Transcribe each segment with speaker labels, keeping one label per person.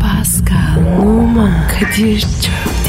Speaker 1: Pascal, Oman, Kadir çok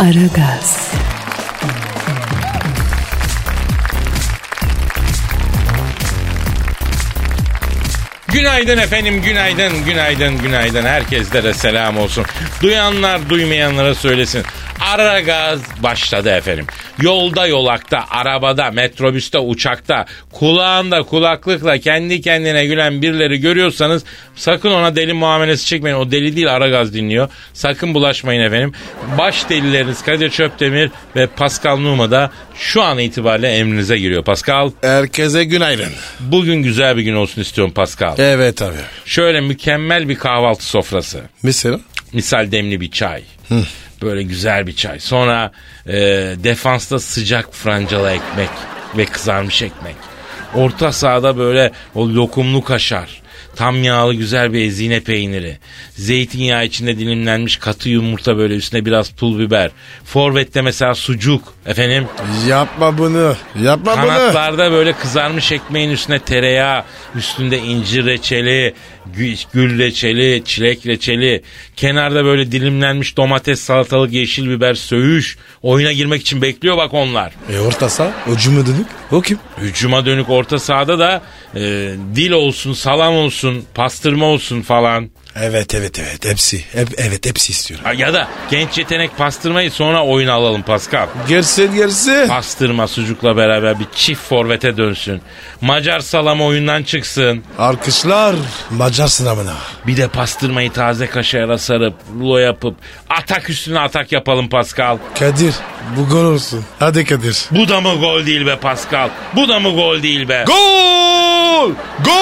Speaker 1: Aragaz,
Speaker 2: Günaydın efendim, günaydın, günaydın, günaydın. Herkeslere selam olsun. Duyanlar duymayanlara söylesin. Ara gaz başladı efendim. Yolda yolakta, arabada, metrobüste, uçakta, kulağında kulaklıkla kendi kendine gülen birileri görüyorsanız sakın ona deli muamelesi çekmeyin. O deli değil ara gaz dinliyor. Sakın bulaşmayın efendim. Baş delileriniz Kadir Çöptemir ve Pascal Numa da şu an itibariyle emrinize giriyor. Pascal
Speaker 3: Herkese günaydın.
Speaker 2: bugün güzel bir gün olsun istiyorum Pascal.
Speaker 3: Evet abi.
Speaker 2: Şöyle mükemmel bir kahvaltı sofrası.
Speaker 3: Mesela?
Speaker 2: Misal demli bir çay. Böyle güzel bir çay. Sonra e, defansta sıcak francalı ekmek ve kızarmış ekmek. Orta sahada böyle o lokumlu kaşar. Tam yağlı güzel bir ezine peyniri. Zeytinyağı içinde dilimlenmiş katı yumurta böyle üstüne biraz pul biber. Forvette mesela sucuk. Efendim
Speaker 3: Yapma bunu. Yapma bunu.
Speaker 2: Kanatlarda böyle kızarmış ekmeğin üstüne tereyağı, üstünde incir reçeli, gü- gül reçeli, çilek reçeli. Kenarda böyle dilimlenmiş domates, salatalık, yeşil biber, söğüş. Oyuna girmek için bekliyor bak onlar.
Speaker 3: E orta saha. O cumhurluk. O kim?
Speaker 2: Hücuma dönük orta sahada da e, dil olsun, salam olsun, pastırma olsun falan.
Speaker 3: Evet evet evet. Hepsi. Hep, evet hepsi istiyorum.
Speaker 2: Ha, Ya da genç yetenek pastırmayı sonra oyuna alalım Pascal.
Speaker 3: Gersin gersin.
Speaker 2: Pastırma sucukla beraber bir çift forvete dönsün. Macar salam oyundan çıksın.
Speaker 3: Arkışlar. Macar sınavına.
Speaker 2: Bir de pastırmayı taze kaşara sarıp rulo yapıp atak üstüne atak yapalım Pascal.
Speaker 3: Kadir. Bu gol olsun. Hadi Kadir.
Speaker 2: Bu da mı gol değil be Pascal? Bu da mı gol değil be?
Speaker 3: Gol!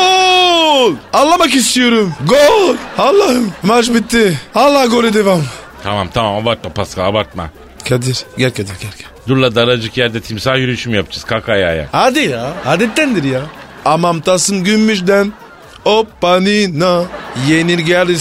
Speaker 3: Gol! Anlamak istiyorum. Gol! Allah'ım maç bitti. Allah golü devam.
Speaker 2: Tamam tamam abartma Pascal abartma.
Speaker 3: Kadir gel Kadir gel gel.
Speaker 2: Dur la daracık yerde timsah yürüyüşü mü yapacağız kalk ayağa.
Speaker 3: Hadi ya adettendir ya. Amam tasım gümüşten. Oppanina yenir geldi.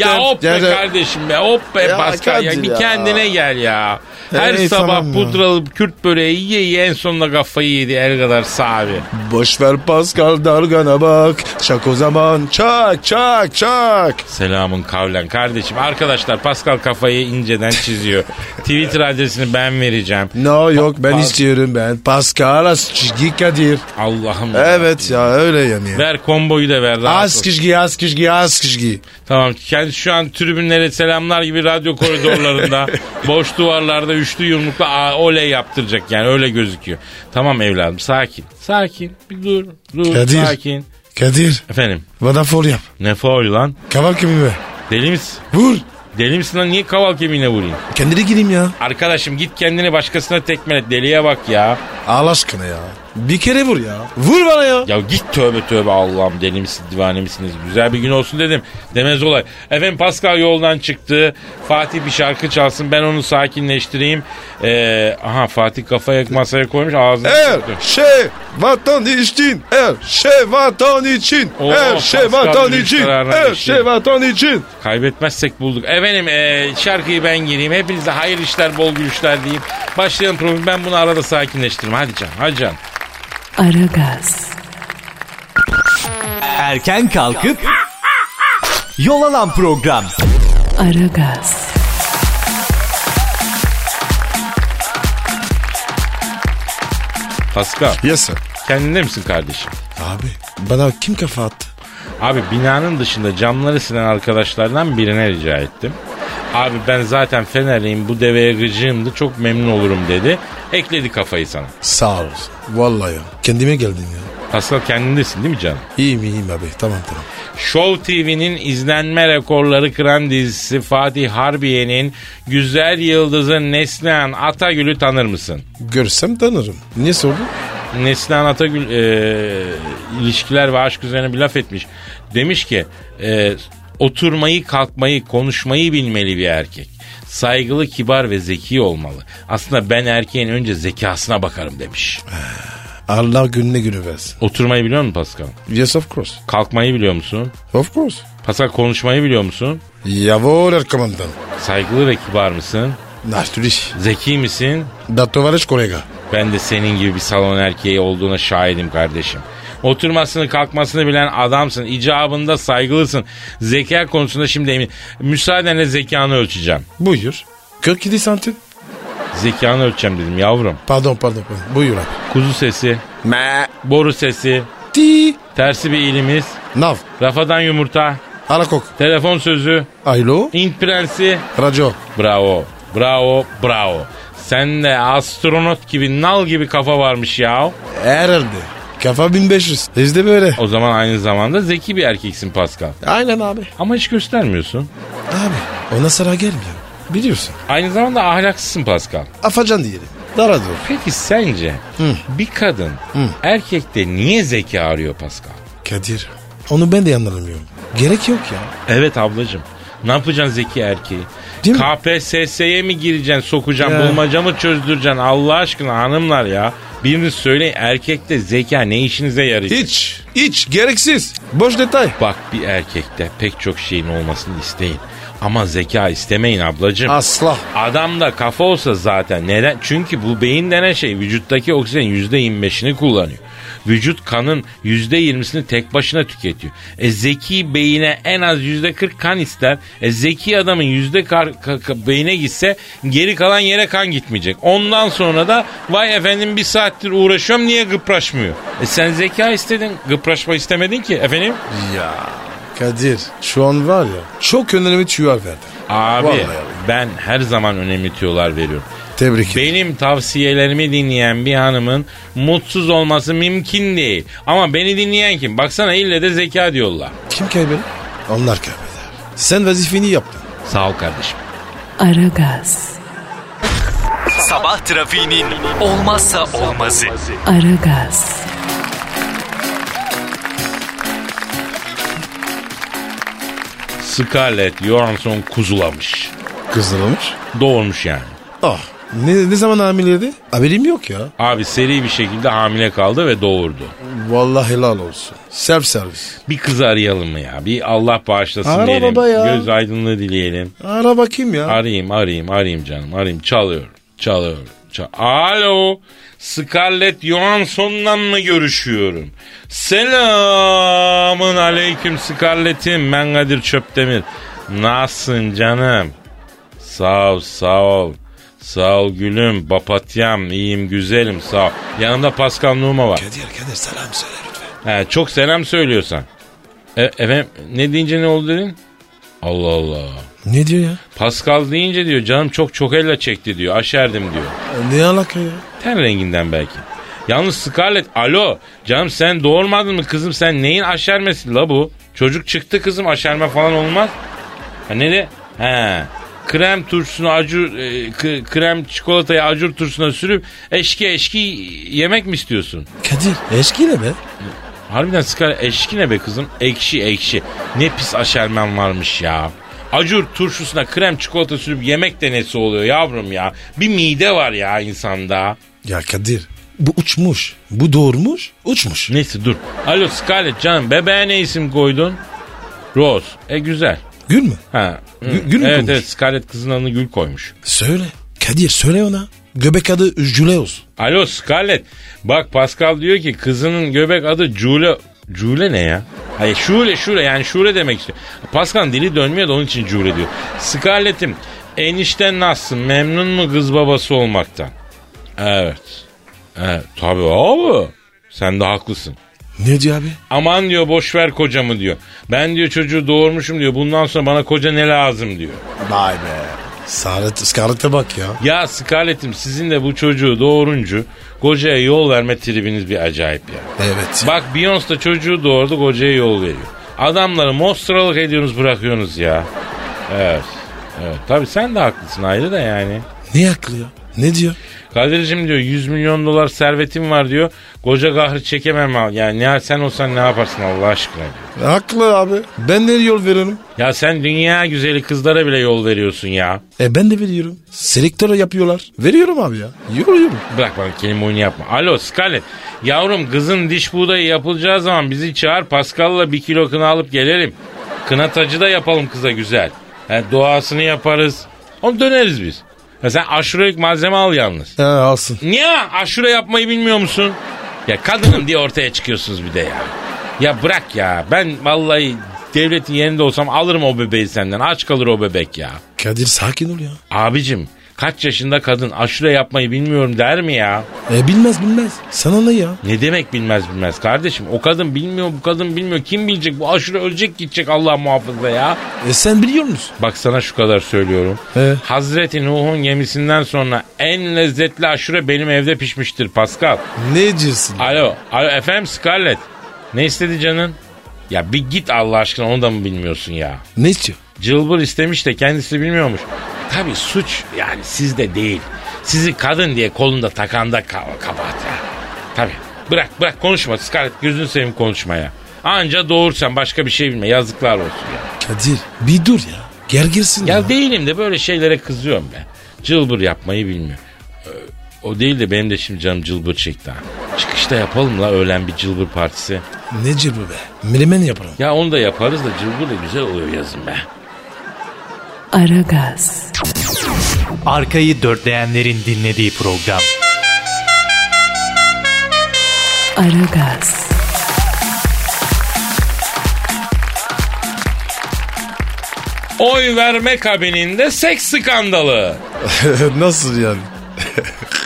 Speaker 2: Ya hop be kardeşim be hop be
Speaker 3: Ya
Speaker 2: Pascal ya
Speaker 3: Kadir
Speaker 2: bir
Speaker 3: ya.
Speaker 2: kendine gel ya. Her
Speaker 3: Ey,
Speaker 2: sabah
Speaker 3: tamam ya.
Speaker 2: pudralı Kürt böreği yiye yiye en sonunda kafayı yedi el kadar sahibi.
Speaker 3: Boş ver Pascal dargana bak. Çak o zaman çak çak çak.
Speaker 2: Selamın kavlen kardeşim. Arkadaşlar Pascal kafayı inceden çiziyor. Twitter adresini ben vereceğim.
Speaker 3: No yok ben istiyorum ben. Pascal az çizgi Kadir.
Speaker 2: Allah'ım. ya.
Speaker 3: Evet ya öyle yani.
Speaker 2: Ver komboyu da ver. rahat
Speaker 3: Az
Speaker 2: ol.
Speaker 3: çizgi az çizgi az çizgi.
Speaker 2: Tamam. Kendi şu an tribünlere selamlar gibi radyo koridorlarında, boş duvarlarda üçlü yumrukla aa, oley yaptıracak yani öyle gözüküyor. Tamam evladım sakin. Sakin. Bir dur. Dur.
Speaker 3: Kadir.
Speaker 2: Sakin.
Speaker 3: Kadir
Speaker 2: Efendim.
Speaker 3: bana fol yap.
Speaker 2: Ne faul lan?
Speaker 3: Kaval kemiği ver.
Speaker 2: Deli misin?
Speaker 3: Vur.
Speaker 2: Deli misin lan? Niye kaval kemiğine vurayım?
Speaker 3: Kendine gireyim ya.
Speaker 2: Arkadaşım git kendini başkasına tekmele. Deliye bak ya.
Speaker 3: Allah aşkına ya. Bir kere vur ya. Vur bana ya.
Speaker 2: Ya git tövbe tövbe Allah'ım deli misin divane misiniz? Güzel bir gün olsun dedim. Demez olay. Efendim Pascal yoldan çıktı. Fatih bir şarkı çalsın ben onu sakinleştireyim. Ee, aha Fatih kafayı masaya koymuş ağzını sıktı.
Speaker 3: Her şey vatan için. Her şey vatan için.
Speaker 2: Oo,
Speaker 3: her şey
Speaker 2: Pascal
Speaker 3: vatan
Speaker 2: Gümüş
Speaker 3: için.
Speaker 2: kararına
Speaker 3: Her
Speaker 2: geçti.
Speaker 3: şey vatan için.
Speaker 2: Kaybetmezsek bulduk. Efendim ee, şarkıyı ben gireyim. Hepinize hayır işler bol gülüşler diyeyim. Başlayalım program. Ben bunu arada sakinleştiririm. Hadi can hadi can.
Speaker 1: Aragaz,
Speaker 4: Erken kalkıp yol alan program.
Speaker 1: Aragaz,
Speaker 2: Pascal
Speaker 3: Yes sir.
Speaker 2: kendinde misin kardeşim?
Speaker 3: Abi bana kim kafa attı?
Speaker 2: Abi binanın dışında camları silen arkadaşlardan birine rica ettim. Abi ben zaten Fenerliyim bu deveye gıcığımdı çok memnun olurum dedi. Ekledi kafayı sana.
Speaker 3: Sağ olsun. Vallahi ya. Kendime geldim ya.
Speaker 2: Pascal kendindesin değil mi canım?
Speaker 3: İyiyim iyiyim abi. Tamam tamam.
Speaker 2: Show TV'nin izlenme rekorları kıran dizisi Fatih Harbiye'nin güzel yıldızı Neslihan Atagül'ü tanır mısın?
Speaker 3: Görsem tanırım. Niye sordun?
Speaker 2: Neslihan Atagül e, ilişkiler ve aşk üzerine bir laf etmiş. Demiş ki e, Oturmayı, kalkmayı, konuşmayı bilmeli bir erkek. Saygılı, kibar ve zeki olmalı. Aslında ben erkeğin önce zekasına bakarım demiş.
Speaker 3: Allah gününe günü versin.
Speaker 2: Oturmayı biliyor musun Pascal?
Speaker 3: Yes of course.
Speaker 2: Kalkmayı biliyor musun?
Speaker 3: Of course.
Speaker 2: Pascal konuşmayı biliyor musun?
Speaker 3: Jawohl, Herr Komandan.
Speaker 2: Saygılı ve kibar mısın?
Speaker 3: Natürlich.
Speaker 2: Zeki misin?
Speaker 3: Da tovarış kolega.
Speaker 2: Ben de senin gibi bir salon erkeği olduğuna şahidim kardeşim. Oturmasını kalkmasını bilen adamsın. İcabında saygılısın. Zeka konusunda şimdi emin. Müsaadenle zekanı ölçeceğim.
Speaker 3: Buyur. 47 santim.
Speaker 2: Zekanı ölçeceğim dedim yavrum.
Speaker 3: Pardon pardon. pardon. Buyur abi.
Speaker 2: Kuzu sesi,
Speaker 3: Me.
Speaker 2: boru sesi,
Speaker 3: Ti.
Speaker 2: tersi bir ilimiz,
Speaker 3: Nav.
Speaker 2: rafadan yumurta,
Speaker 3: Alakok.
Speaker 2: telefon sözü,
Speaker 3: Alo.
Speaker 2: int prensi.
Speaker 3: Radyo.
Speaker 2: Bravo, bravo, bravo. Sen de astronot gibi, nal gibi kafa varmış ya.
Speaker 3: Herhalde. Kafa 1500. Bizde böyle.
Speaker 2: O zaman aynı zamanda zeki bir erkeksin Pascal.
Speaker 3: Aynen abi.
Speaker 2: Ama hiç göstermiyorsun.
Speaker 3: Abi ona sıra gelmiyor. Biliyorsun.
Speaker 2: Aynı zamanda ahlaksızsın Pascal.
Speaker 3: Afacan diyelim. Dara dur.
Speaker 2: Peki sence bir kadın erkekte niye zeki arıyor Pascal?
Speaker 3: Kadir. Onu ben de anlamıyorum. Gerek yok ya.
Speaker 2: Evet ablacığım. Ne yapacaksın zeki erkeği?
Speaker 3: Değil mi?
Speaker 2: KPSS'ye mi gireceksin, sokacaksın,
Speaker 3: Ya.
Speaker 2: bulmaca mı çözdüreceksin? Allah aşkına hanımlar ya. Biriniz söyleyin erkekte zeka ne işinize yarayacak?
Speaker 3: Hiç. Hiç. Gereksiz. Boş detay.
Speaker 2: Bak bir erkekte pek çok şeyin olmasını isteyin. Ama zeka istemeyin ablacığım.
Speaker 3: Asla.
Speaker 2: Adamda kafa olsa zaten neden? Çünkü bu beyin denen şey vücuttaki oksijenin yüzde %25'ini kullanıyor. Vücut kanın yüzde %20'sini tek başına tüketiyor. E zeki beyine en az yüzde %40 kan ister. E zeki adamın yüzde kar- ka- ka- beyine gitse geri kalan yere kan gitmeyecek. Ondan sonra da vay efendim bir saattir uğraşıyorum niye gıpraşmıyor? E sen zeka istedin gıpraşma istemedin ki efendim.
Speaker 3: Kadir şu an var ya çok önemli tüyar verdi.
Speaker 2: Abi
Speaker 3: Vallahi.
Speaker 2: ben her zaman önemli tüyolar veriyorum.
Speaker 3: Tebrik ederim.
Speaker 2: Benim tavsiyelerimi dinleyen bir hanımın mutsuz olması mümkün değil. Ama beni dinleyen kim? Baksana ille de zeka diyorlar.
Speaker 3: Kim kaybeder? Onlar kaybeder. Sen vazifeni yaptın.
Speaker 2: Sağ ol kardeşim.
Speaker 1: Aragaz,
Speaker 4: Sabah trafiğinin olmazsa olmazı.
Speaker 1: Aragaz,
Speaker 2: Scarlett Johansson kuzulamış.
Speaker 3: Kızdırılmış.
Speaker 2: Doğurmuş yani.
Speaker 3: Ah. Ne, ne zaman hamileydi? Haberim yok ya.
Speaker 2: Abi seri bir şekilde hamile kaldı ve doğurdu.
Speaker 3: Vallahi helal olsun. Self servis.
Speaker 2: Bir kız arayalım mı ya? Bir Allah bağışlasın
Speaker 3: Ara
Speaker 2: diyelim.
Speaker 3: baba ya.
Speaker 2: Göz aydınlığı dileyelim.
Speaker 3: Ara bakayım ya.
Speaker 2: Arayayım arayayım arayayım canım arayayım. Çalıyorum çalıyorum. Çal- Alo Scarlett Johansson'la mı görüşüyorum? Selamın aleyküm Scarlett'im ben Kadir Çöptemir. Nasılsın canım? Sağ ol sağ ol. Sağ ol gülüm, papatyam, iyiyim, güzelim, sağ ol. Yanımda Pascal Numa var.
Speaker 3: Kadir Kadir selam söyle lütfen.
Speaker 2: He, çok selam söylüyorsan. E, efendim, ne deyince ne oldu dedin? Allah Allah.
Speaker 3: Ne diyor ya?
Speaker 2: Pascal deyince diyor canım çok çok elle çekti diyor. Aşerdim diyor.
Speaker 3: Ne alaka ya?
Speaker 2: Ten renginden belki. Yalnız Scarlett alo canım sen doğurmadın mı kızım sen neyin aşermesi la bu? Çocuk çıktı kızım aşerme falan olmaz. Ha ne de? He. Krem turşusunu acur e, k- krem çikolatayı acur turşusuna sürüp eşki eşki yemek mi istiyorsun?
Speaker 3: Kadir eşkiyle mi?
Speaker 2: Harbiden Scarlett eşki ne be kızım? Ekşi ekşi. Ne pis aşermen varmış ya. Acur turşusuna krem çikolata sürüp yemek de nesi oluyor yavrum ya? Bir mide var ya insanda.
Speaker 3: Ya Kadir bu uçmuş. Bu doğurmuş uçmuş.
Speaker 2: Neyse dur. Alo Scarlett canım bebeğe ne isim koydun? Rose. E güzel.
Speaker 3: Gül mü?
Speaker 2: Ha. hı.
Speaker 3: Gü- Gül mü
Speaker 2: evet
Speaker 3: koymuş?
Speaker 2: evet Scarlett kızın adını Gül koymuş.
Speaker 3: Söyle. Kadir söyle ona. Göbek adı Jüle olsun.
Speaker 2: Alo Scarlett. Bak Pascal diyor ki kızının göbek adı Jule. Jule ne ya? Hayır Şule Şule yani Şule demek istiyor. Pascal dili dönmüyor da onun için Jule diyor. Scarlett'im enişten nasılsın? Memnun mu kız babası olmaktan? Evet. Evet tabii abi. Sen de haklısın.
Speaker 3: Ne diyor abi?
Speaker 2: Aman diyor boş ver kocamı diyor. Ben diyor çocuğu doğurmuşum diyor. Bundan sonra bana koca ne lazım diyor.
Speaker 3: Vay be. Scarlet, Scarlett'e bak ya.
Speaker 2: Ya Scarlett'im sizin de bu çocuğu doğuruncu kocaya yol verme tribiniz bir acayip ya.
Speaker 3: Evet.
Speaker 2: Bak Beyoncé da çocuğu doğurdu kocaya yol veriyor. Adamları mostralık ediyorsunuz bırakıyorsunuz ya. Evet. Evet. Tabii sen de haklısın ayrı da yani.
Speaker 3: Ne haklı ya? Ne diyor?
Speaker 2: Kadir'cim diyor 100 milyon dolar servetim var diyor. Koca kahrı çekemem. ha. Yani ne sen olsan ne yaparsın Allah aşkına diyor.
Speaker 3: Haklı abi. Ben de yol veriyorum.
Speaker 2: Ya sen dünya güzeli kızlara bile yol veriyorsun ya.
Speaker 3: E ben de veriyorum. Selektör yapıyorlar. Veriyorum abi ya. Yürüyorum.
Speaker 2: Bırak bana kelime oyunu yapma. Alo Scarlett. Yavrum kızın diş buğdayı yapılacağı zaman bizi çağır. Pascal'la bir kilo kına alıp gelelim. Kına tacı da yapalım kıza güzel. He, doğasını yaparız. Onu döneriz biz. Ya sen aşurelik malzeme al yalnız.
Speaker 3: He alsın.
Speaker 2: Niye aşure yapmayı bilmiyor musun? Ya kadınım diye ortaya çıkıyorsunuz bir de ya. Ya bırak ya. Ben vallahi devletin yerinde olsam alırım o bebeği senden. Aç kalır o bebek ya.
Speaker 3: Kadir sakin ol ya.
Speaker 2: Abicim kaç yaşında kadın aşure yapmayı bilmiyorum der mi ya?
Speaker 3: E bilmez bilmez. Sana ne ya?
Speaker 2: Ne demek bilmez bilmez kardeşim. O kadın bilmiyor bu kadın bilmiyor. Kim bilecek bu aşure ölecek gidecek Allah muhafaza ya.
Speaker 3: E sen biliyor musun?
Speaker 2: Bak sana şu kadar söylüyorum.
Speaker 3: He.
Speaker 2: Hazreti Nuh'un gemisinden sonra en lezzetli aşure benim evde pişmiştir Pascal.
Speaker 3: Ne diyorsun?
Speaker 2: Alo, alo efendim Scarlett. Ne istedi canın? Ya bir git Allah aşkına onu da mı bilmiyorsun ya?
Speaker 3: Ne istiyor?
Speaker 2: Cılbır istemiş de kendisi bilmiyormuş. Tabii suç yani sizde değil. Sizi kadın diye kolunda takanda ka- kabahat ya. Tabii. Bırak bırak konuşma Scarlett gözünü seveyim konuşmaya. Anca doğursan başka bir şey bilme yazıklar olsun ya.
Speaker 3: Kadir bir dur ya. Gergirsin ya.
Speaker 2: Ya değilim de böyle şeylere kızıyorum ben. Cılbır yapmayı bilmiyor. Ee, O değil de benim de şimdi canım cılbır çekti ha. Çıkışta yapalım la öğlen bir cılbır partisi.
Speaker 3: Ne cebi be? Menemen yaparım.
Speaker 2: Ya onu da yaparız da cılbır da güzel oluyor yazın be.
Speaker 1: Aragaz,
Speaker 4: Arkayı dörtleyenlerin dinlediği program.
Speaker 1: Aragaz,
Speaker 2: Oy verme kabininde seks skandalı.
Speaker 3: Nasıl yani?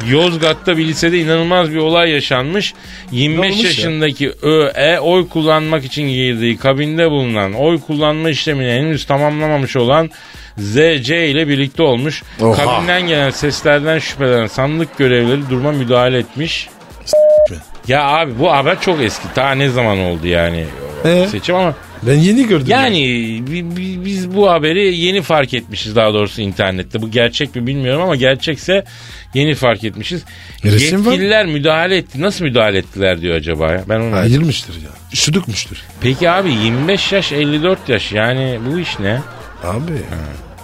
Speaker 2: Yozgat'ta bir lisede inanılmaz bir olay yaşanmış. 25
Speaker 3: olmuş ya?
Speaker 2: yaşındaki ÖE oy kullanmak için girdiği kabinde bulunan oy kullanma işlemini henüz tamamlamamış olan ZC ile birlikte olmuş.
Speaker 3: Oha.
Speaker 2: Kabinden gelen seslerden şüphelenen sandık görevlileri duruma müdahale etmiş.
Speaker 3: be.
Speaker 2: Ya abi bu haber çok eski. Daha ne zaman oldu yani
Speaker 3: Ee?
Speaker 2: seçim ama
Speaker 3: Ben yeni gördüm.
Speaker 2: yani bi- bi- biz bu haberi yeni fark etmişiz daha doğrusu internette. Bu gerçek mi bilmiyorum ama gerçekse yeni fark etmişiz.
Speaker 3: Resim var.
Speaker 2: Yetkililer müdahale etti. Nasıl müdahale ettiler diyor acaba ya? Ben onu
Speaker 3: ya. Ayırmıştır ya. Üşüdükmüştür.
Speaker 2: Peki abi 25 yaş 54 yaş yani bu iş ne?
Speaker 3: Abi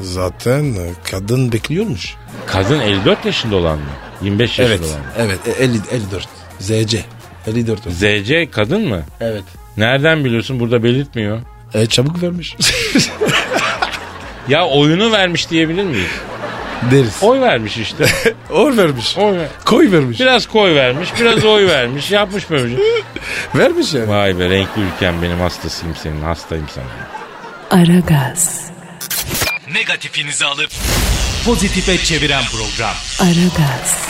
Speaker 3: zaten e, kadın bekliyormuş.
Speaker 2: Kadın 54 yaşında olan mı? 25 yaşında olan mı?
Speaker 3: Evet. e, 50, 54. ZC. 54.
Speaker 2: ZC kadın mı?
Speaker 3: Evet.
Speaker 2: Nereden biliyorsun? Burada belirtmiyor.
Speaker 3: E, çabuk vermiş.
Speaker 2: Ya oyunu vermiş diyebilir miyiz?
Speaker 3: Deriz.
Speaker 2: Oy vermiş işte.
Speaker 3: Or vermiş.
Speaker 2: Oy ver-
Speaker 3: Koy vermiş.
Speaker 2: Biraz koy vermiş, biraz oy vermiş, yapmış böyle. şey.
Speaker 3: Vermiş yani.
Speaker 2: Vay be renkli ülkem benim hastasıyım senin hastayım sana.
Speaker 1: Aragaz,
Speaker 4: Negatifinizi alıp pozitife çeviren program.
Speaker 1: Aragaz,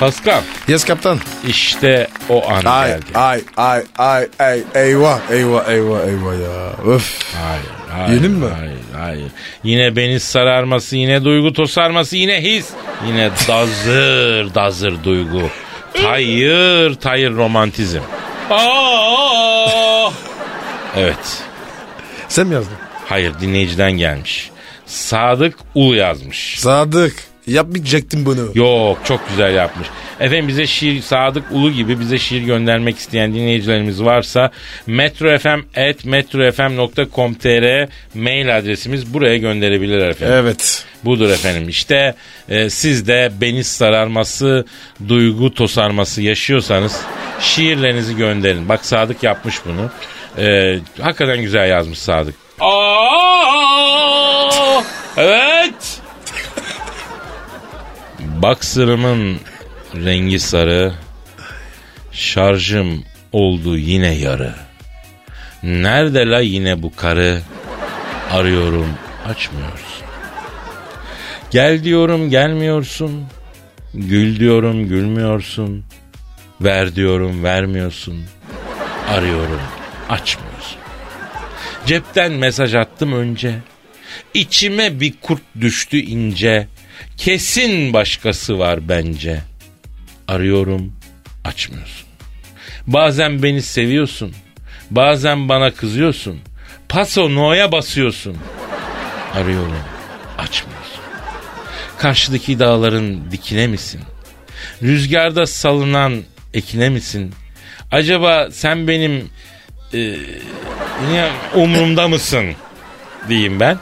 Speaker 2: Pascal
Speaker 3: Yes kaptan.
Speaker 2: işte o an
Speaker 3: Ay
Speaker 2: geldi.
Speaker 3: ay ay ay ay eyvah eyvah eyvah eyvah ya. Öf.
Speaker 2: Hayır, hayır,
Speaker 3: Yeni mi?
Speaker 2: Hayır, hayır. Yine beni sararması, yine duygu tosarması, yine his. Yine dazır dazır duygu. Tayır tayır romantizm. Aa! evet.
Speaker 3: Sen mi yazdın?
Speaker 2: Hayır dinleyiciden gelmiş. Sadık Ulu yazmış.
Speaker 3: Sadık. Yapmayacaktın bunu.
Speaker 2: Yok çok güzel yapmış. Efendim bize şiir Sadık Ulu gibi bize şiir göndermek isteyen dinleyicilerimiz varsa metrofm.metrofm.com.tr mail adresimiz buraya gönderebilir efendim.
Speaker 3: Evet.
Speaker 2: Budur efendim işte e, siz de beniz sararması, duygu tosarması yaşıyorsanız şiirlerinizi gönderin. Bak Sadık yapmış bunu. E, hakikaten güzel yazmış Sadık. Aa, evet. Baksırımın rengi sarı, şarjım oldu yine yarı. Nerede la yine bu karı? Arıyorum açmıyorsun. Gel diyorum gelmiyorsun. Gül diyorum gülmüyorsun. Ver diyorum vermiyorsun. Arıyorum açmıyorsun. Cepten mesaj attım önce. İçime bir kurt düştü ince. Kesin başkası var bence. Arıyorum açmıyorsun. Bazen beni seviyorsun. Bazen bana kızıyorsun. Paso no'ya basıyorsun. Arıyorum açmıyorsun. Karşıdaki dağların dikine misin? Rüzgarda salınan Ekine misin? Acaba sen benim e, niye umurumda mısın diyeyim ben.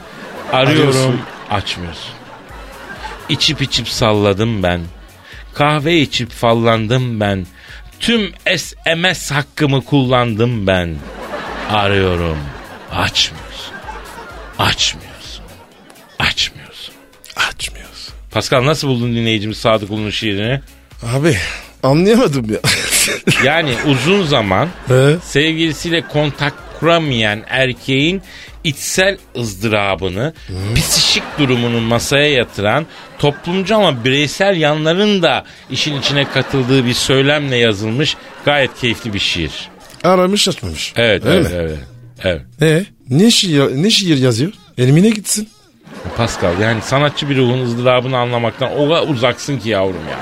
Speaker 2: Arıyorum
Speaker 3: Arıyorsun.
Speaker 2: açmıyorsun. İçip içip salladım ben. Kahve içip fallandım ben. Tüm SMS hakkımı kullandım ben. Arıyorum. Açmıyorsun. Açmıyorsun. Açmıyorsun.
Speaker 3: Açmıyoruz.
Speaker 2: Pascal nasıl buldun dinleyicimiz Sadık Ulu'nun şiirini?
Speaker 3: Abi anlayamadım ya.
Speaker 2: Yani uzun zaman
Speaker 3: He?
Speaker 2: sevgilisiyle kontak kuramayan erkeğin içsel ızdırabını,
Speaker 3: Hmm.
Speaker 2: psişik durumunu masaya yatıran, toplumcu ama bireysel yanların da işin içine katıldığı bir söylemle yazılmış gayet keyifli bir şiir.
Speaker 3: Aramış açmamış.
Speaker 2: Evet,
Speaker 3: Öyle
Speaker 2: evet,
Speaker 3: mi?
Speaker 2: evet. Evet.
Speaker 3: E, ne, şiir, ne şiir yazıyor? Elimine gitsin.
Speaker 2: Pascal yani sanatçı bir ruhun ızdırabını anlamaktan o kadar uzaksın ki yavrum ya.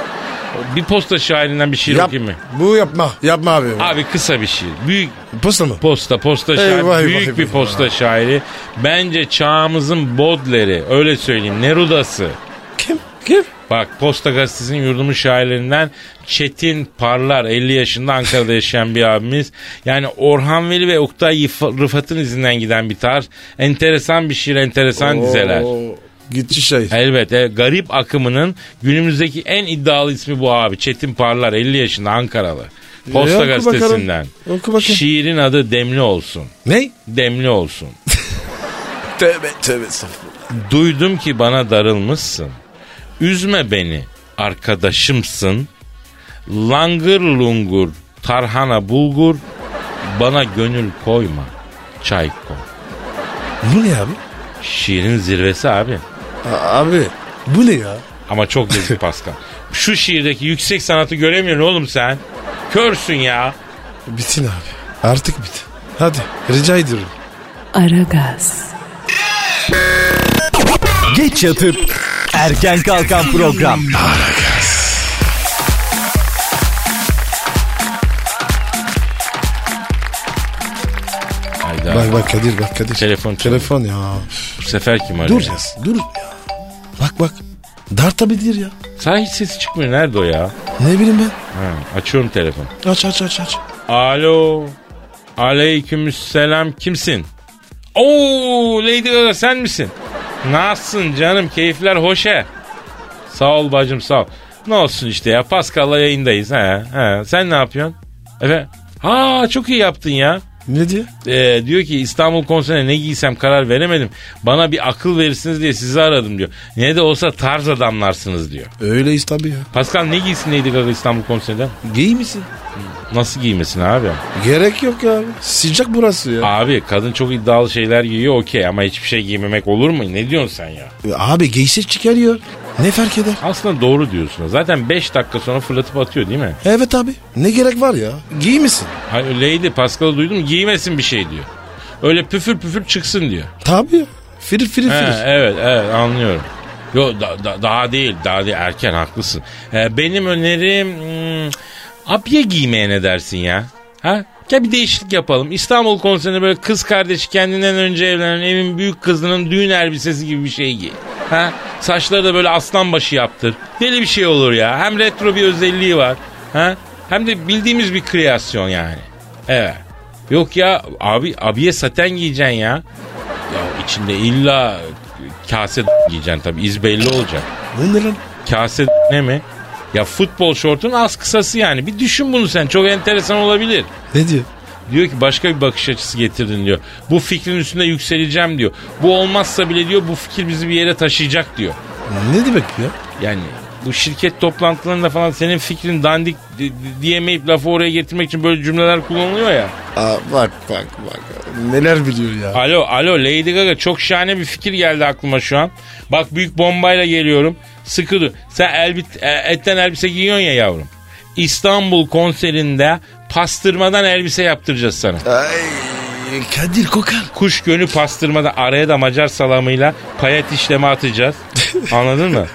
Speaker 2: Bir posta şairinden bir şiir
Speaker 3: Yap-
Speaker 2: okuyayım mı?
Speaker 3: Bu yapma. Yapma abi.
Speaker 2: Abi kısa bir şiir. Büyük
Speaker 3: Posta mı?
Speaker 2: Posta, posta şairi.
Speaker 3: Eyvah, eyvah,
Speaker 2: büyük
Speaker 3: eyvah.
Speaker 2: bir posta şairi. Bence çağımızın Bodler'i. Öyle söyleyeyim. Nerudası.
Speaker 3: Kim? Kim?
Speaker 2: Bak Posta Gazetesi'nin yurdumun şairlerinden Çetin Parlar 50 yaşında Ankara'da yaşayan bir abimiz. Yani Orhan Veli ve Oktay Yıf- Rıfat'ın izinden giden bir tarz. Enteresan bir şiir, enteresan dizeler.
Speaker 3: Oo, Gitti şey.
Speaker 2: Elbette garip akımının günümüzdeki en iddialı ismi bu abi. Çetin Parlar 50 yaşında Ankaralı. Posta
Speaker 3: E, oku bakalım.
Speaker 2: gazetesinden.
Speaker 3: Oku bakayım.
Speaker 2: Şiirin adı Demli olsun.
Speaker 3: Ne?
Speaker 2: Demli olsun.
Speaker 3: Tövbe tövbe saflı.
Speaker 2: Duydum ki bana darılmışsın. Üzme beni arkadaşımsın. Langır lungur tarhana bulgur. Bana gönül koyma. Çay koy.
Speaker 3: Bu ne abi?
Speaker 2: Şiirin zirvesi abi.
Speaker 3: A- abi bu ne ya?
Speaker 2: Ama çok lezzetli Pascal. Şu şiirdeki yüksek sanatı göremiyorsun oğlum sen. Körsün ya.
Speaker 3: Bitsin abi. Artık bit. Hadi rica ediyorum.
Speaker 1: Aragaz,
Speaker 4: Geç yatıp erken kalkan program.
Speaker 2: Hayda.
Speaker 3: Bak bak Kadir bak Kadir.
Speaker 2: Telefon çalıyor.
Speaker 3: Telefon ya.
Speaker 2: Bu sefer kim arıyor?
Speaker 3: Dur ya. Dur ya. Bak bak. Dar tabidir ya.
Speaker 2: Sahi hiç sesi çıkmıyor. Nerede o ya?
Speaker 3: Ne bileyim ben.
Speaker 2: Ha, açıyorum telefon.
Speaker 3: Aç aç aç aç.
Speaker 2: Alo. Aleykümselam kimsin? Oo Lady Gaga sen misin? Nasılsın canım keyifler hoşe. Sağ ol bacım sağ ol. Ne olsun işte ya Pascal'la yayındayız. He, he. Sen ne yapıyorsun? Efe. Ha çok iyi yaptın ya.
Speaker 3: Ne diye?
Speaker 2: Ee, diyor ki İstanbul konserine ne giysem karar veremedim. Bana bir akıl verirsiniz diye sizi aradım diyor. Ne de olsa tarz adamlarsınız diyor.
Speaker 3: Öyleyiz tabii ya.
Speaker 2: Pascal ne giysin Lady Gaga İstanbul konserinde?
Speaker 3: Giy misin?
Speaker 2: Nasıl giymesin abi?
Speaker 3: Gerek yok ya. Sıcak burası ya.
Speaker 2: Abi kadın çok iddialı şeyler giyiyor okey ama hiçbir şey giymemek olur mu? Ne diyorsun sen ya?
Speaker 3: Abi giysi çıkarıyor. Ne fark eder?
Speaker 2: Aslında doğru diyorsun. Zaten 5 dakika sonra fırlatıp atıyor değil mi?
Speaker 3: Evet abi. Ne gerek var ya? Giy misin?
Speaker 2: Hani Lady Pascal'ı duydum giymesin bir şey diyor. Öyle püfür püfür çıksın diyor.
Speaker 3: Tabii ya. Firir firir
Speaker 2: He,
Speaker 3: firir.
Speaker 2: evet evet anlıyorum. Yo da- da- daha değil daha değil erken haklısın. Ee, benim önerim hmm, abiye giymeye ne dersin ya? Ha? Gel bir değişiklik yapalım. İstanbul konserinde böyle kız kardeşi kendinden önce evlenen evin büyük kızının düğün elbisesi gibi bir şey giy. Ha? Saçları da böyle aslan başı yaptır. Deli bir şey olur ya. Hem retro bir özelliği var. Ha? Hem de bildiğimiz bir kreasyon yani. Evet. Yok ya abi abiye saten giyeceksin ya. Ya içinde illa kase giyeceksin tabii iz belli olacak.
Speaker 3: Bu ne lan?
Speaker 2: Kase ne mi? Ya futbol şortun az kısası yani. Bir düşün bunu sen çok enteresan olabilir.
Speaker 3: Ne diyor?
Speaker 2: Diyor ki başka bir bakış açısı getirdin diyor. Bu fikrin üstünde yükseleceğim diyor. Bu olmazsa bile diyor bu fikir bizi bir yere taşıyacak diyor.
Speaker 3: Ne demek ya?
Speaker 2: Yani bu şirket toplantılarında falan senin fikrin dandik di- di- diyemeyip lafı oraya getirmek için böyle cümleler kullanılıyor ya.
Speaker 3: Aa, bak bak bak. Neler biliyor ya.
Speaker 2: Alo alo Lady Gaga çok şahane bir fikir geldi aklıma şu an. Bak büyük bombayla geliyorum. Sıkı dur. Sen elbit, e, etten elbise giyiyorsun ya yavrum. İstanbul konserinde pastırmadan elbise yaptıracağız sana.
Speaker 3: Ay, Ee, Kadir kokar.
Speaker 2: Kuş gönü pastırmada araya da Macar salamıyla payet işlemi atacağız. Anladın mı?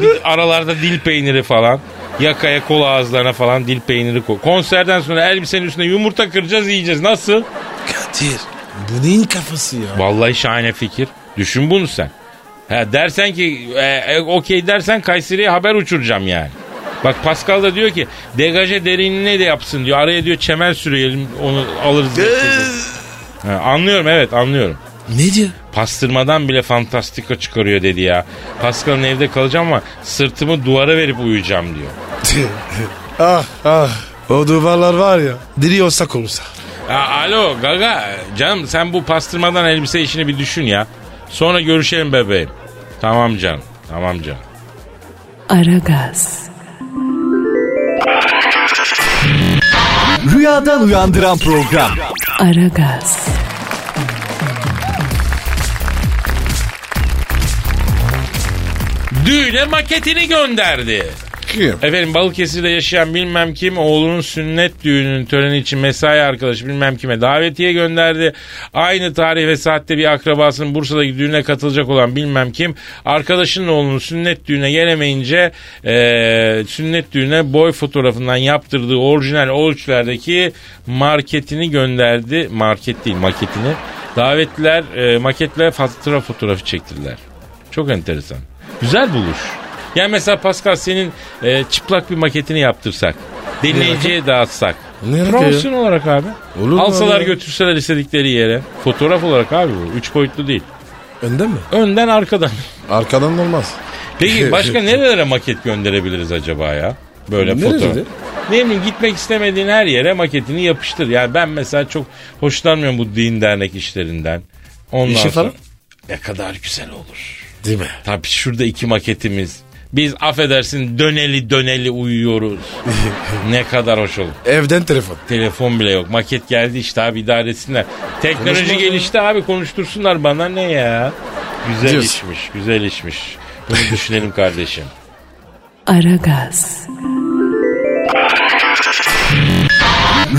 Speaker 2: Bir Aralarda dil peyniri falan. Yakaya kol ağızlarına falan dil peyniri koy. Konserden sonra elbisenin üstüne yumurta kıracağız yiyeceğiz. Nasıl?
Speaker 3: Kadir. Bu neyin kafası ya?
Speaker 2: Vallahi şahane fikir. Düşün bunu sen. Ha, dersen ki e, e, okey dersen Kayseri'ye haber uçuracağım yani. Bak Pascal da diyor ki degaje derinliğine de yapsın diyor. Araya diyor çemel sürelim onu alırız. diye. Ha, anlıyorum evet anlıyorum.
Speaker 3: ne diyor?
Speaker 2: Pastırmadan bile fantastika çıkarıyor dedi ya. Pascal'ın evde kalacağım ama sırtımı duvara verip uyuyacağım diyor.
Speaker 3: ah ah. O duvarlar var ya. Diri olsak olsa.
Speaker 2: Ya, alo gaga canım sen bu pastırmadan elbise işini bir düşün ya. Sonra görüşelim bebeğim. Tamam canım tamam canım.
Speaker 1: Aragaz,
Speaker 4: Rüyadan uyandıran program.
Speaker 1: Aragaz,
Speaker 2: Düğüne maketini gönderdi.
Speaker 3: Kim?
Speaker 2: Efendim Balıkesir'de yaşayan bilmem kim oğlunun sünnet düğününün töreni için mesai arkadaşı bilmem kime davetiye gönderdi. Aynı tarih ve saatte bir akrabasının Bursa'daki düğüne katılacak olan bilmem kim arkadaşının oğlunun sünnet düğüne gelemeyince eee, sünnet düğüne boy fotoğrafından yaptırdığı orijinal ölçülerdeki marketini gönderdi. Market değil maketini. Davetliler eee, maketle fatura fotoğrafı çektirdiler. Çok enteresan. Güzel buluş. Yani mesela Pascal senin e, çıplak bir maketini yaptırsak. Dinleyiciye dağıtsak.
Speaker 3: Ne alaka
Speaker 2: Promosyon olarak abi.
Speaker 3: Olur mu
Speaker 2: Alsalar
Speaker 3: abi ya?
Speaker 2: götürseler istedikleri yere. Fotoğraf olarak abi bu. Üç boyutlu değil.
Speaker 3: Önden mi?
Speaker 2: Önden arkadan.
Speaker 3: Arkadan olmaz.
Speaker 2: Peki başka nerelere maket gönderebiliriz acaba ya? Böyle
Speaker 3: Nerede
Speaker 2: fotoğraf.
Speaker 3: dedi?
Speaker 2: Ne bileyim gitmek istemediğin her yere maketini yapıştır. Yani ben mesela çok hoşlanmıyorum bu din dernek işlerinden. Ondan
Speaker 3: İşi
Speaker 2: sonra-
Speaker 3: falan?
Speaker 2: Ne kadar güzel olur.
Speaker 3: Değil mi?
Speaker 2: Tabii şurada iki maketimiz. Biz affedersin döneli döneli uyuyoruz. ne kadar hoş olur.
Speaker 3: Evden telefon.
Speaker 2: Telefon bile yok. Maket geldi işte abi idare etsinler. Teknoloji
Speaker 3: Konuşma
Speaker 2: gelişti abi konuştursunlar bana ne ya. Güzel
Speaker 3: Diyorsun.
Speaker 2: işmiş güzel işmiş. Bunu düşünelim kardeşim.
Speaker 1: Aragaz,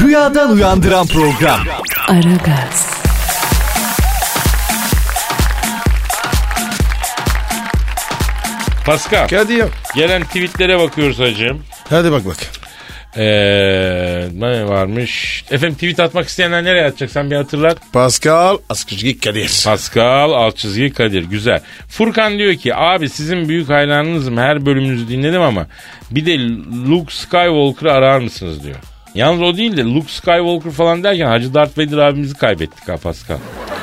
Speaker 4: Rüyadan uyandıran program.
Speaker 1: Aragaz,
Speaker 2: Pascal
Speaker 3: Hadi ya.
Speaker 2: gelen tweetlere bakıyoruz hacım.
Speaker 3: Hadi bak bak.
Speaker 2: Ee, ne varmış? Efendim tweet atmak isteyenler nereye atacak? Sen bir hatırlat.
Speaker 3: Pascal Askışgi Kadir.
Speaker 2: Pascal alt çizgi Kadir güzel. Furkan diyor ki abi sizin büyük hayranınızım her bölümünüzü dinledim ama bir de Luke Skywalker'ı arar mısınız diyor. Yalnız o değil de Luke Skywalker falan derken Hacı Darth Vader abimizi kaybettik ha Pascal.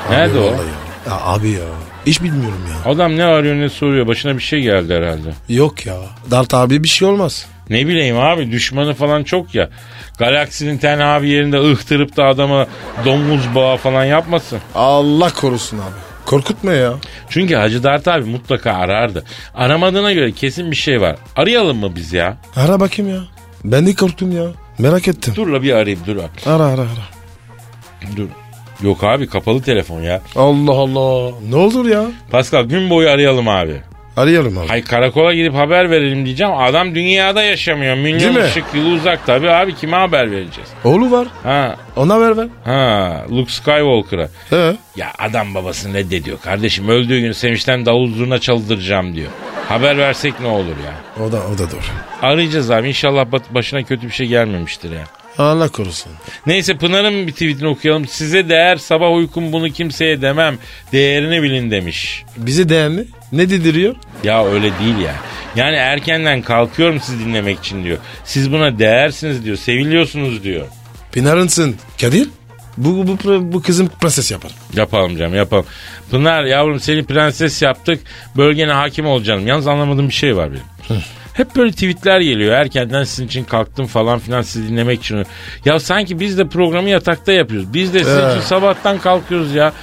Speaker 2: Nerede o?
Speaker 3: Vallahi ya. Ya abi ya. Hiç bilmiyorum ya.
Speaker 2: Adam ne arıyor ne soruyor başına bir şey geldi herhalde.
Speaker 3: Yok ya. Dart abi bir şey olmaz.
Speaker 2: Ne bileyim abi düşmanı falan çok ya. Galaksinin tenha bir yerinde ıhtırıp da adama domuz bağı falan yapmasın.
Speaker 3: Allah korusun abi. Korkutma ya.
Speaker 2: Çünkü Hacı Dert abi mutlaka arardı. Aramadığına göre kesin bir şey var. Arayalım mı biz ya?
Speaker 3: Ara bakayım ya. Ben de korktum ya. Merak ettim.
Speaker 2: Dur la bir arayayım dur.
Speaker 3: Ara ara ara.
Speaker 2: Dur. Yok abi kapalı telefon ya.
Speaker 3: Allah Allah. Ne olur ya.
Speaker 2: Pascal gün boyu arayalım abi.
Speaker 3: Arayalım abi.
Speaker 2: Hay karakola gidip haber verelim diyeceğim. Adam dünyada yaşamıyor. Milyon
Speaker 3: Değil mi?
Speaker 2: ışık yılı uzak tabii abi kime haber vereceğiz?
Speaker 3: Oğlu var.
Speaker 2: Ha
Speaker 3: Ona ver ver.
Speaker 2: ha Luke Skywalker'a.
Speaker 3: He.
Speaker 2: Ya adam babasını reddediyor. Kardeşim öldüğü gün Sevinç'ten davul zurna çaldıracağım diyor. Haber versek ne olur ya.
Speaker 3: O da o da doğru.
Speaker 2: Arayacağız abi inşallah bat- başına kötü bir şey gelmemiştir ya.
Speaker 3: Allah korusun.
Speaker 2: Neyse Pınar'ın bir tweetini okuyalım. Size değer sabah uykum bunu kimseye demem. Değerini bilin demiş.
Speaker 3: Bizi değerli. Ne didiriyor?
Speaker 2: Ya öyle değil ya. Yani erkenden kalkıyorum sizi dinlemek için diyor. Siz buna değersiniz diyor. Seviliyorsunuz diyor.
Speaker 3: Pınar'ınsın. Kadir. Bu, bu, bu, bu kızım prenses yapar.
Speaker 2: Yapalım canım yapalım. Pınar yavrum seni prenses yaptık. Bölgene hakim olacağım. Yalnız anlamadığım bir şey var benim. Hep böyle tweetler geliyor. Erkenden sizin için kalktım falan filan sizi dinlemek için. Ya sanki biz de programı yatakta yapıyoruz. Biz de sizin
Speaker 3: Ee.
Speaker 2: için sabahtan kalkıyoruz ya.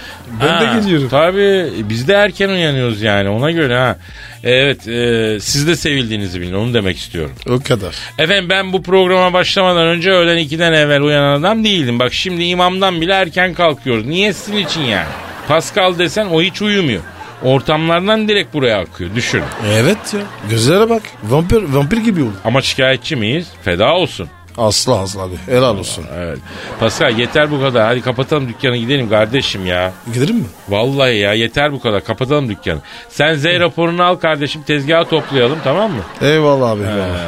Speaker 3: Ben de geliyorum.
Speaker 2: Tabii biz de erken uyanıyoruz yani ona göre ha. Evet e, siz de sevildiğinizi bilin onu demek istiyorum.
Speaker 3: O kadar.
Speaker 2: Efendim ben bu programa başlamadan önce öğlen 2'den evvel uyanan adam değildim. Bak şimdi imamdan bile erken kalkıyoruz. Niye sizin için yani? Pascal desen o hiç uyumuyor. Ortamlardan direkt buraya akıyor. Düşün.
Speaker 3: Evet ya. Gözlere bak. Vampir, vampir gibi oldu.
Speaker 2: Ama şikayetçi miyiz? Feda olsun.
Speaker 3: Asla asla abi. Helal olsun.
Speaker 2: Evet. Pascal yeter bu kadar. Hadi kapatalım dükkanı gidelim kardeşim ya.
Speaker 3: Gidelim mi?
Speaker 2: Vallahi ya yeter bu kadar. Kapatalım dükkanı. Sen Z raporunu al kardeşim tezgaha toplayalım tamam mı?
Speaker 3: Eyvallah abi.
Speaker 2: Ee,
Speaker 3: eyvallah.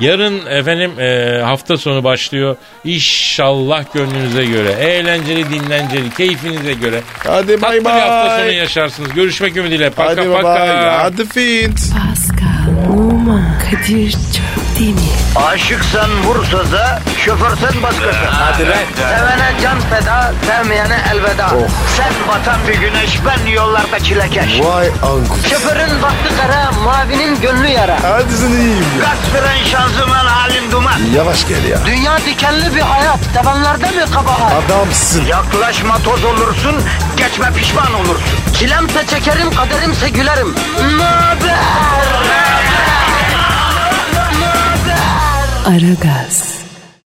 Speaker 2: Yarın efendim e, hafta sonu başlıyor. İnşallah gönlünüze göre, eğlenceli, dinlenceli, keyfinize göre.
Speaker 3: Hadi bay
Speaker 2: Tatlı bir hafta sonu
Speaker 3: bay.
Speaker 2: yaşarsınız. Görüşmek ümidiyle. Paka
Speaker 3: Hadi bay
Speaker 2: paka.
Speaker 3: bay. Hadi fit.
Speaker 1: Pascal, Oman, Kadir çok değil mi?
Speaker 5: Aşıksan vursa da, şoförsen başkasın. Hadi
Speaker 2: lan.
Speaker 5: Sevene can feda, sevmeyene elveda. Sen batan bir güneş, ben yollarda çilekeş.
Speaker 3: Vay anku.
Speaker 5: Şoförün baktı kara, mavinin gönlü yara.
Speaker 3: Hadi sen iyiyim ya.
Speaker 5: Kasperen şanzıman halin duman.
Speaker 3: Yavaş gel ya.
Speaker 5: Dünya dikenli bir hayat, sevenlerde mi kabahar?
Speaker 3: Adamsın.
Speaker 5: Yaklaşma toz olursun, geçme pişman olursun. Çilemse çekerim, kaderimse gülerim. Möber!
Speaker 1: Aragaz.